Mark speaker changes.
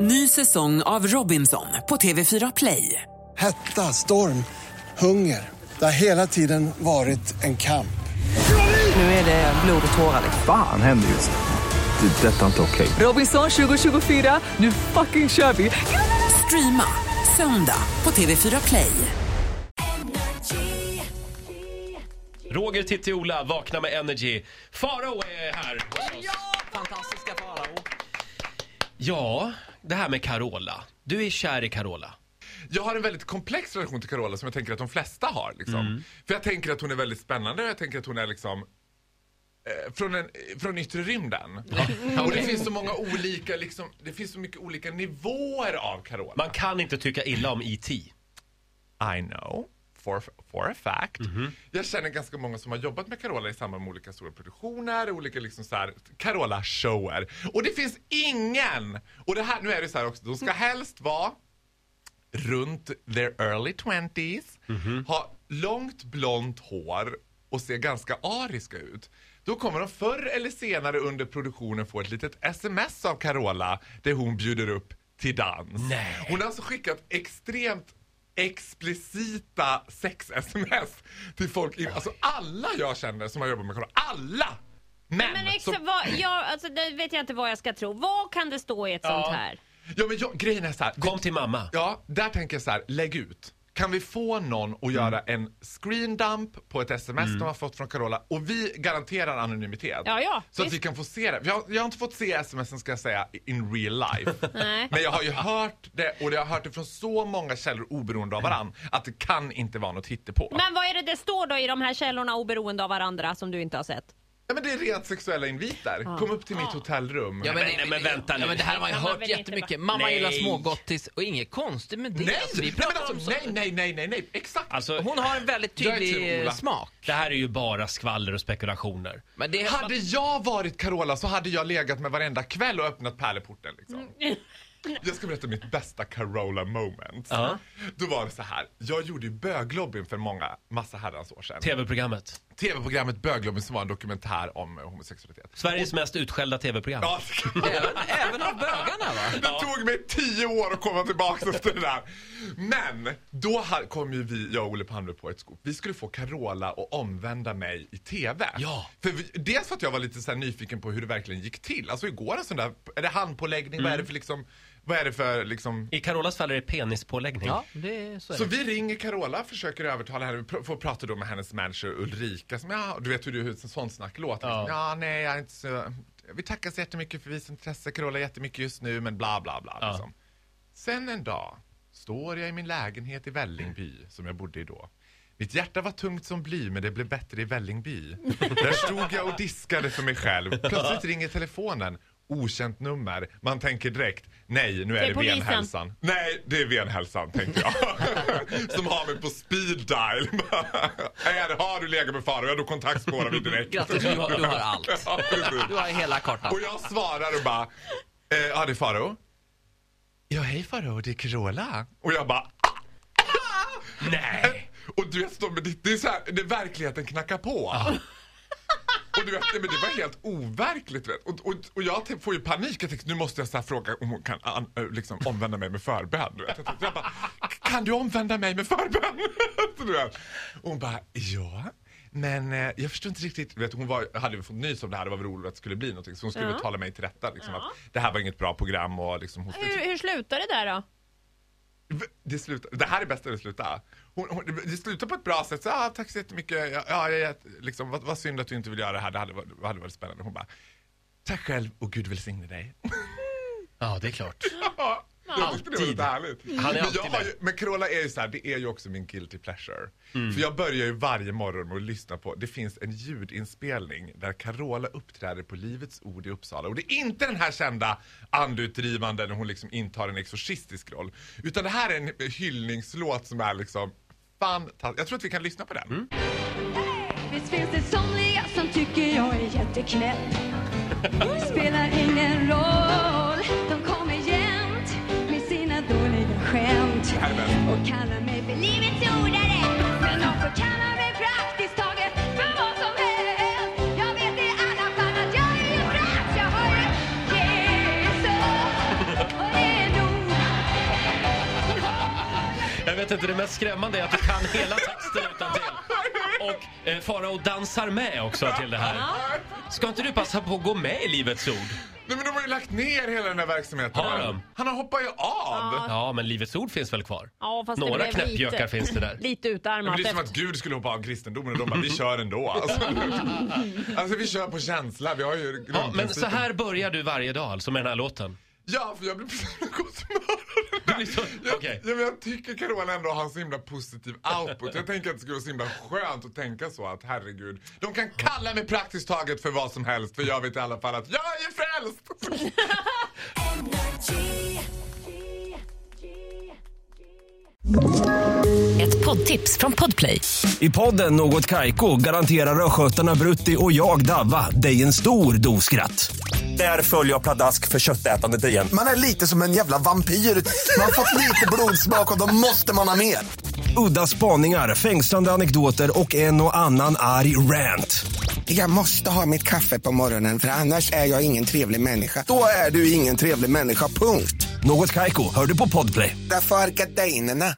Speaker 1: Ny säsong av Robinson på TV4 Play.
Speaker 2: Hetta, storm, hunger. Det har hela tiden varit en kamp.
Speaker 1: Nu är det blod och tårar.
Speaker 3: Fan händer just nu. Det. är Detta är inte okej.
Speaker 1: Robinson 2024, nu fucking kör vi! Streama söndag på TV4 Play.
Speaker 4: Roger, Titti, Ola, vakna med energy. Farao är här hos oss.
Speaker 5: Fantastiska Farao.
Speaker 4: Ja, det här med Carola. Du är kär i Carola.
Speaker 6: Jag har en väldigt komplex relation till Carola som jag tänker att de flesta har. Liksom. För jag tänker att hon är väldigt spännande och jag tänker att hon är liksom eh, från, en, eh, från yttre rymden. Och det finns så många olika, liksom, det finns så mycket olika nivåer av Carola.
Speaker 4: Man kan inte tycka illa om E E.T.
Speaker 6: I know. For, for a fact. Jag känner ganska många som har jobbat med Carola i samband med olika stora produktioner, olika liksom så här Carola-shower. Och det finns ingen! Och det här, nu är det så här också, de ska helst vara runt their early twenties, ha långt blont hår och se ganska ariska ut. Då kommer de förr eller senare under produktionen få ett litet sms av Carola där hon bjuder upp till dans.
Speaker 4: Nej.
Speaker 6: Hon har alltså skickat extremt explicita sex-sms till folk. i- Alltså alla jag känner som har jobbat med Carola. Alla! Män!
Speaker 7: Men
Speaker 6: som-
Speaker 7: exakt, vad, jag, alltså, det vet jag inte vad jag ska tro. Vad kan det stå i ett sånt här?
Speaker 6: ja, men jag, grejen är så här.
Speaker 4: Kom till mamma.
Speaker 6: Ja, där tänker jag så här, lägg ut. Kan vi få någon att göra en screen dump på ett sms de har fått från Carola och vi garanterar anonymitet.
Speaker 7: Ja, ja,
Speaker 6: så att
Speaker 7: visst.
Speaker 6: vi kan få se det. Jag, har- jag har inte fått se smsen ska jag säga in real life.
Speaker 7: Nej.
Speaker 6: Men jag har ju hört det och jag har hört det från så många källor oberoende av varann att det kan inte vara något hittepå.
Speaker 7: Men vad är det det står då i de här källorna oberoende av varandra som du inte har sett?
Speaker 6: Nej, men det är rent sexuella inviter. Kom upp till mitt hotellrum.
Speaker 4: men- nej, men vänta nu.
Speaker 5: ja, men Det här har man ju
Speaker 7: Kan man
Speaker 5: hört
Speaker 7: väl inte
Speaker 5: jättemycket.
Speaker 7: bara-
Speaker 5: Mamma
Speaker 4: Nej.
Speaker 5: gillar smågottis och inget konstigt med det.
Speaker 6: nej,
Speaker 5: Alltså, vi
Speaker 6: nej, men
Speaker 5: pratar om
Speaker 6: alltså,
Speaker 5: så-
Speaker 6: nej, nej, nej, nej, nej, exakt.
Speaker 4: Alltså,
Speaker 5: Hon har en väldigt
Speaker 6: Jag är till
Speaker 5: tydlig
Speaker 6: Ola.
Speaker 5: eh, smak.
Speaker 4: det här är ju bara skvaller och spekulationer.
Speaker 5: Men det,
Speaker 6: Hade
Speaker 5: hade...
Speaker 6: jag varit Carola så hade jag legat med varenda kväll och öppnat pärleporten. Liksom.
Speaker 5: Mm.
Speaker 6: Jag ska berätta mitt bästa Carola moment.
Speaker 4: Ja.
Speaker 6: Då var det så här. Jag gjorde ju böglobbyn för många, massa herrans år sedan.
Speaker 4: TV-programmet.
Speaker 6: TV-programmet Böglobbyn som var en dokumentär om eh, homosexualitet.
Speaker 4: Sveriges mest utskällda TV-program.
Speaker 6: Ja,
Speaker 5: även, även av bögarna va?
Speaker 6: Det tog mig tio år att komma tillbaka efter det där. Men då ha- kom ju vi, jag och Olle Palme på ett skop. Vi skulle få Carola att omvända mig i TV.
Speaker 4: Ja.
Speaker 6: För vi, dels för att jag var lite så här nyfiken på hur det verkligen gick till. Alltså hur går en sån där, är det handpåläggning? Vad är
Speaker 5: Mm.
Speaker 6: det för liksom, vad är det för liksom
Speaker 4: I Carolas fall är det penispåläggning.
Speaker 5: Ja, det, så är
Speaker 6: så
Speaker 5: det.
Speaker 6: vi ringer Carola, försöker övertala henne, Vi pr- får prata då med hennes manager Ulrika som ja, du vet hur det hur ett sånt snack låter.
Speaker 4: Ja.
Speaker 6: Ja. ja, nej, jag är inte så... Vi tackar så jättemycket för visat intresse, Carola jättemycket just nu, men bla bla bla.
Speaker 4: Ja.
Speaker 6: Liksom. Sen en dag står jag i min lägenhet i Vällingby, som jag bodde i då. Mitt hjärta var tungt som bly, men det blev bättre i Vällingby. Där stod jag och diskade för mig själv. Plötsligt ringer telefonen. Okänt nummer. Man tänker direkt, nej, nu är
Speaker 7: Det är
Speaker 6: det
Speaker 7: polisen.
Speaker 6: venhälsan. Nej, det är venhälsan, tänkte jag. som har mig på speed dial. Här, har du legat med Farao, ja då kontaktspårar vi direkt.
Speaker 5: Grattis, du har, du har allt.
Speaker 6: Ja, precis.
Speaker 5: Du har hela kartan.
Speaker 6: Och jag svarar och bara, eh, ja det är Farao. Ja hej Farao, det är Carola. Och jag bara,
Speaker 4: Nej!
Speaker 6: och du vet, de- det, det är så här, det är verkligheten knackar på. Och du vet, nej, men det var helt overkligt. Vet. Och, och, och jag typ får ju panik. Jag tänkte, nu måste jag så här fråga om hon kan an, äh, liksom, omvända mig med förbön. Du vet. Jag, tänkte, jag bara, kan du omvända mig med förbön? Så du vet. Och hon bara, ja. Men eh, jag förstår inte riktigt. Du Vet, hon var, hade ju fått nys om det här. Det var väl roligt att det skulle bli någonting. Så hon skulle tala mig till rätta. Liksom, att det här var inget bra program. Och, liksom, hon skulle
Speaker 7: Hur, hur slutar det där då?
Speaker 6: V- Det, slutar, det här är bäst att det slutar. Hon, hon, det slutar på ett bra sätt. Så, ah, tack så jättemycket. Ja, ja, jag- jag- liksom, vad, vad synd att du inte vill göra det här. Det hade, varit- hade varit spännande. Hon bara, tack själv och Gud välsigne dig.
Speaker 4: Ja, det är klart.
Speaker 6: Ja, jag tyckte det var lite härligt.
Speaker 4: Han är
Speaker 6: men,
Speaker 4: alltid
Speaker 6: jag har
Speaker 4: med.
Speaker 6: ju, men Carola är ju så här, det är ju också min guilty pleasure.
Speaker 4: Mm.
Speaker 6: För jag börjar ju varje morgon med att lyssna på, det finns en ljudinspelning där Carola uppträder på Livets Ord i Uppsala. Och det är inte den här kända andeutdrivande när hon liksom intar en exorcistisk roll. Utan det här är en hyllningslåt som är liksom fantastisk. Jag tror att vi kan lyssna på den.
Speaker 4: Mm.
Speaker 8: Visst finns det somliga som tycker jag är jätteknäpp Det spelar ingen roll De kommer jämt med sina dåliga skämt
Speaker 6: Här är den.
Speaker 8: Och kallar mig för livets jordare Men de får kalla mig praktiskt taget för vad som helst Jag vet i alla fall att jag är ju frälst Jag har ju Jesus Och det är nog
Speaker 4: vet inte, det mest skrämmande är att du kan hela texten utantill. Och eh, Farao dansar med också till det här. Ska inte du passa på att gå med i Livets Ord?
Speaker 6: Nej men de har ju lagt ner hela den här verksamheten.
Speaker 4: Har de?
Speaker 6: Han har hoppat ju av.
Speaker 7: Ja.
Speaker 4: Ja, men Livets Ord finns väl kvar?
Speaker 7: Ja, fast
Speaker 4: Några
Speaker 7: det blev
Speaker 4: knäppjökar
Speaker 7: lite,
Speaker 4: finns det där.
Speaker 7: Lite
Speaker 6: Men
Speaker 7: utarmat.
Speaker 6: det är som
Speaker 7: efter-
Speaker 6: att Gud skulle hoppa av kristendomen och de bara, vi kör ändå. Alltså, alltså vi kör på känsla, vi har ju
Speaker 4: Ja, men
Speaker 6: grundprincipen.
Speaker 4: så här börjar du varje dag, alltså med den här låten.
Speaker 6: Ja, för jag blir precis på gott humör.
Speaker 4: Du blir så-
Speaker 6: Jag,
Speaker 4: okej.
Speaker 6: ja, men jag tycker Carola ändå har en så himla positiv output. Jag tänker att det skulle vara så himla skönt att tänka så att herregud, de kan kalla mig praktiskt taget för vad som helst för jag vet i alla fall att jag är frälst!
Speaker 9: Ett poddtips från Podplay.
Speaker 10: I podden Något Kaiko garanterar östgötarna Brutti och jag, Davva, dig en stor dos skratt. Där följer jag pladask för köttätandet igen.
Speaker 11: Man är lite som en jävla vampyr. Man har fått lite blodsmak och då måste man ha mer.
Speaker 10: Udda spaningar, fängslande anekdoter och en och annan arg rant.
Speaker 11: Jag måste ha mitt kaffe på morgonen för annars är jag ingen trevlig människa. Då är du ingen trevlig människa, punkt.
Speaker 10: Något Kaiko, hör du på Podplay.
Speaker 11: Därför arkadeinerna.